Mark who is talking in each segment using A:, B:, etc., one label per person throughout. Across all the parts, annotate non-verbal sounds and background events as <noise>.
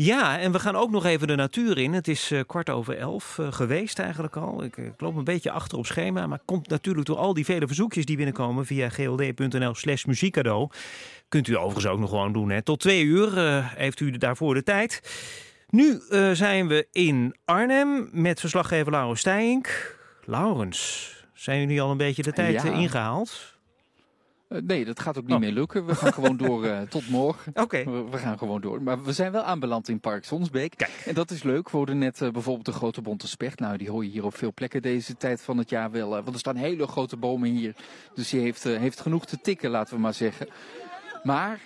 A: Ja, en we gaan ook nog even de natuur in. Het is eh, kwart over elf eh, geweest eigenlijk al. Ik, eh, ik loop een beetje achter op schema, maar komt natuurlijk door al die vele verzoekjes die binnenkomen via gld.nl slash muziekcadeau. Kunt u overigens ook nog gewoon doen. Hè. Tot twee uur eh, heeft u daarvoor de tijd. Nu eh, zijn we in Arnhem met verslaggever Laurens Steink. Laurens, zijn jullie al een beetje de tijd
B: Ja.
A: eh, ingehaald?
B: Eh, nee, dat gaat ook niet
A: Oh.
B: meer lukken. We gaan gewoon door eh, tot morgen.
A: Oké.
B: We, we gaan gewoon door. Maar we zijn wel aanbeland in Park Sonsbeek. En dat is leuk. We hoorden net eh, bijvoorbeeld de grote bonte specht. Nou, die hoor je hier op veel plekken deze tijd van het jaar wel. eh, want er staan hele grote bomen hier. Dus die heeft, eh, heeft genoeg te tikken, laten we maar zeggen. Maar,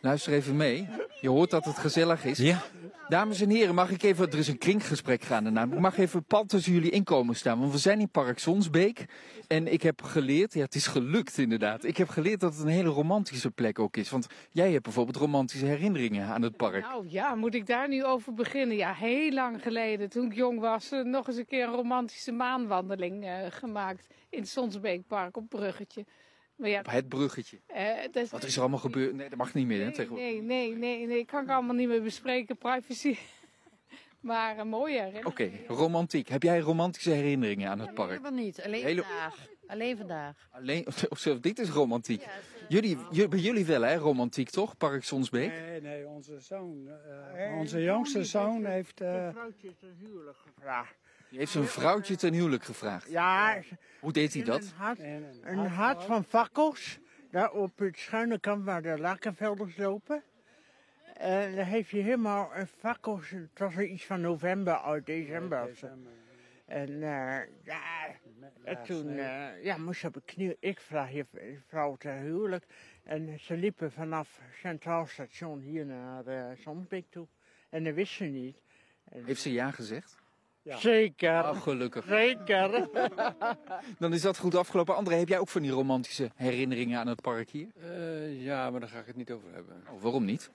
B: luister even mee. Je hoort dat het gezellig is.
A: Ja.
B: Dames en heren, mag ik even, er is een kringgesprek gaande namelijk. Ik mag even pal tussen jullie inkomen staan, want we zijn in Park Sonsbeek. En ik heb geleerd, ja het is gelukt inderdaad, ik heb geleerd dat het een hele romantische plek ook is. Want jij hebt bijvoorbeeld romantische herinneringen aan het park.
C: Nou ja, moet ik daar nu over beginnen? Ja, heel lang geleden, toen ik jong was, eh, nog eens een keer een romantische maanwandeling eh, gemaakt in het Sonsbeekpark op Bruggetje. Maar ja,
B: Op het bruggetje.
C: eh, dat
B: Wat is er allemaal gebeurd? Nee, dat mag niet meer hè,
C: Nee,
B: tegenwoordig.
C: nee, nee, nee, nee, kan ik allemaal niet meer bespreken, privacy. <laughs> Maar een mooie herinnering.
B: Oké, romantiek. Heb jij romantische herinneringen aan het
D: Ik
B: park?
D: heb niet. Alleen
B: Hele-
D: vandaag. Alleen vandaag.
B: Alleen, <laughs> zo, dit is romantiek.
D: eh,
B: Jullie, ju- bij jullie wel hè, romantiek toch, Park Sonsbeek?
E: Nee, nee, onze zoon. eh, onze jongste zoon heeft. eh,
F: vrouwtje ten huwelijk gevraagd.
B: Die heeft zijn vrouwtje ten huwelijk gevraagd.
F: Ja,
B: Hoe deed hij dat?
F: Een hart,
E: een- een
F: een hart van fakkels. Daar op het schuine kant waar de lakenvelders lopen. En dan heeft hij helemaal een fakkels. Het was er iets van november, uit december of zo. En eh, ja, en toen eh, ja, moest je op een knie. Ik vraag je vrouw ter huwelijk. En ze liepen vanaf Centraal Station hier naar eh Zandbeek toe. En dat wist ze niet. En-
B: Heeft ze ja gezegd?
E: Ja.
F: Zeker.
B: Oh, gelukkig.
F: Zeker.
B: Dan is dat goed afgelopen. André, heb jij ook van die romantische herinneringen aan het park hier?
G: Eh, ja, maar daar ga ik het niet over hebben.
B: Oh, waarom niet?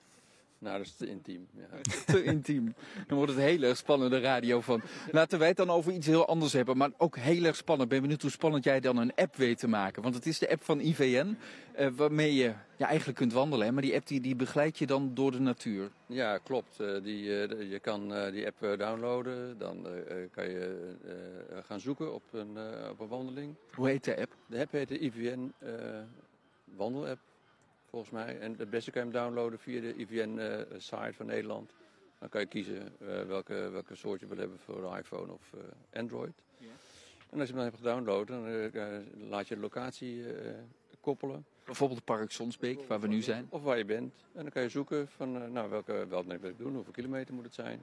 G: Nou, dat is te intiem. Ja.
B: <laughs> Te intiem. Dan wordt het heel erg spannende radio van. Laten wij het dan over iets heel anders hebben, maar ook heel erg spannend. Ben benieuwd hoe spannend jij dan een app weet te maken. Want het is de app van IVN, eh, waarmee je ja, eigenlijk kunt wandelen. Hè? Maar die app die, die begeleidt je dan door de natuur.
G: ja, klopt. Eh, die, eh, je kan eh, die app eh, downloaden. Dan eh, eh, kan je eh, gaan zoeken op een, eh, op een wandeling.
B: Hoe heet de app?
G: De app heet de IVN eh wandelapp, volgens mij. En het beste kan je hem downloaden via de IVN-site eh, van Nederland. Dan kan je kiezen eh, welke, welke soort je wil hebben voor iPhone of eh, Android. En als je hem dan hebt gedownload, dan eh, eh, laat je de locatie eh, koppelen.
B: Bijvoorbeeld Park Sonsbeek, waar we nu zijn.
G: Of waar je bent. En dan kan je zoeken van eh, nou, welke wandeling wil ik doen, hoeveel kilometer moet het zijn.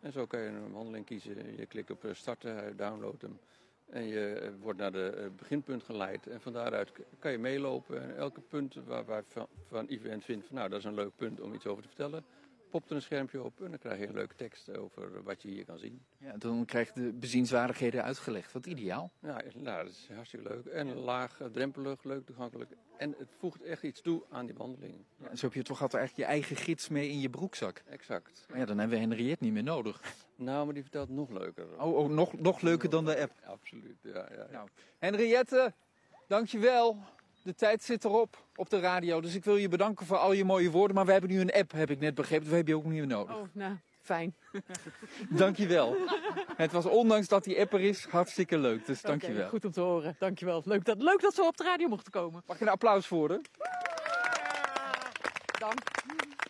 G: En zo kan je een wandeling kiezen. Je klikt op eh, starten, hij downloadt hem. En je eh, wordt naar het beginpunt geleid. En van daaruit k- kan je meelopen. En elke punt waar, waar van, van event vindt, van, nou dat is een leuk punt om iets over te vertellen. Popt er een schermpje op en dan krijg je een leuke tekst over wat je hier kan zien.
B: Ja, dan krijg je de bezienswaardigheden uitgelegd. Wat ideaal.
G: Ja, nou, dat is hartstikke leuk. En laag, eh, drempelig, leuk toegankelijk. En het voegt echt iets toe aan die wandeling.
B: Ja, zo heb je toch altijd eigenlijk je eigen gids mee in je broekzak.
G: Exact.
B: Maar ja, dan hebben we Henriette niet meer nodig.
G: Nou, maar die vertelt nog leuker.
B: Oh, oh nog, nog leuker dan de app.
G: Absoluut, ja. ja, ja.
B: Nou, Henriette, dankjewel. De tijd zit erop op de radio. Dus ik wil je bedanken voor al je mooie woorden. Maar we hebben nu een app, heb ik net begrepen. Dus we hebben je ook niet meer nodig.
H: Oh, nou, fijn. <laughs>
B: Dankjewel. Het was ondanks dat die app er is, hartstikke leuk. Dus dankjewel.
H: Oké, goed om te horen. Dankjewel. Leuk dat, leuk dat ze op de radio mochten komen.
B: Mag ik een applaus voor haar?
H: Dank.